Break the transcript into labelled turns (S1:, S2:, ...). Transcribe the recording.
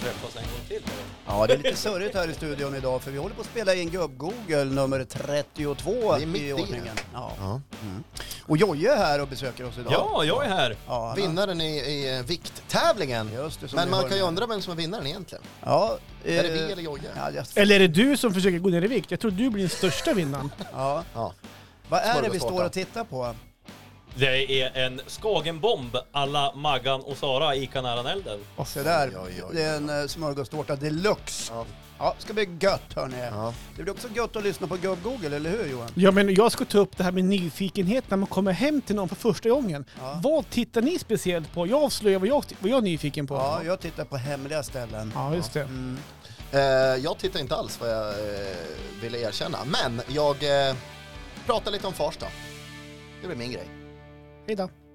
S1: träffas en gång till.
S2: Ja, det är lite surrigt här i studion idag för vi håller på att spela in Gubb-Google nummer 32
S3: Det är mitt
S2: i
S3: i
S2: ordningen.
S3: det.
S2: Ja.
S3: Ja.
S2: Mm. Och Jojje är här och besöker oss idag.
S1: Ja, jag är här.
S2: ja han har-
S3: Vinnaren i, i eh, vikttävlingen.
S2: Just det, som
S3: Men
S2: ni
S3: man
S2: hör
S3: kan ju
S2: nu.
S3: undra vem som är vinnaren egentligen.
S2: Ja, eh,
S3: Är det vi eller Jojje?
S2: Ja, just,
S4: Eller är det du som försöker gå ner i vikt? Jag tror du blir den största vinnaren.
S2: ja.
S3: Ja.
S2: Vad är det vi
S3: Smörgåstårta.
S2: står och tittar på?
S1: Det är en Skagenbomb alla Maggan och Sara i Kanaranelden.
S2: Se där,
S3: Oj, oj, oj.
S2: det är en eh, smörgåstårta deluxe.
S3: Ja.
S2: Ja, ska bli gött hörni.
S3: Ja.
S2: Det blir också gött att lyssna på Gubb-Google, eller hur Johan?
S4: Ja, men jag ska ta upp det här med nyfikenhet när man kommer hem till någon för första gången.
S2: Ja.
S4: Vad tittar ni speciellt på? Jag avslöjar vad jag, vad jag är nyfiken på.
S2: Ja, jag tittar på hemliga ställen.
S4: Ja, just det.
S2: Mm.
S3: Eh, jag tittar inte alls vad jag eh, ville erkänna. Men jag eh, pratar lite om Farsta. Det blir min grej.
S4: Hej då.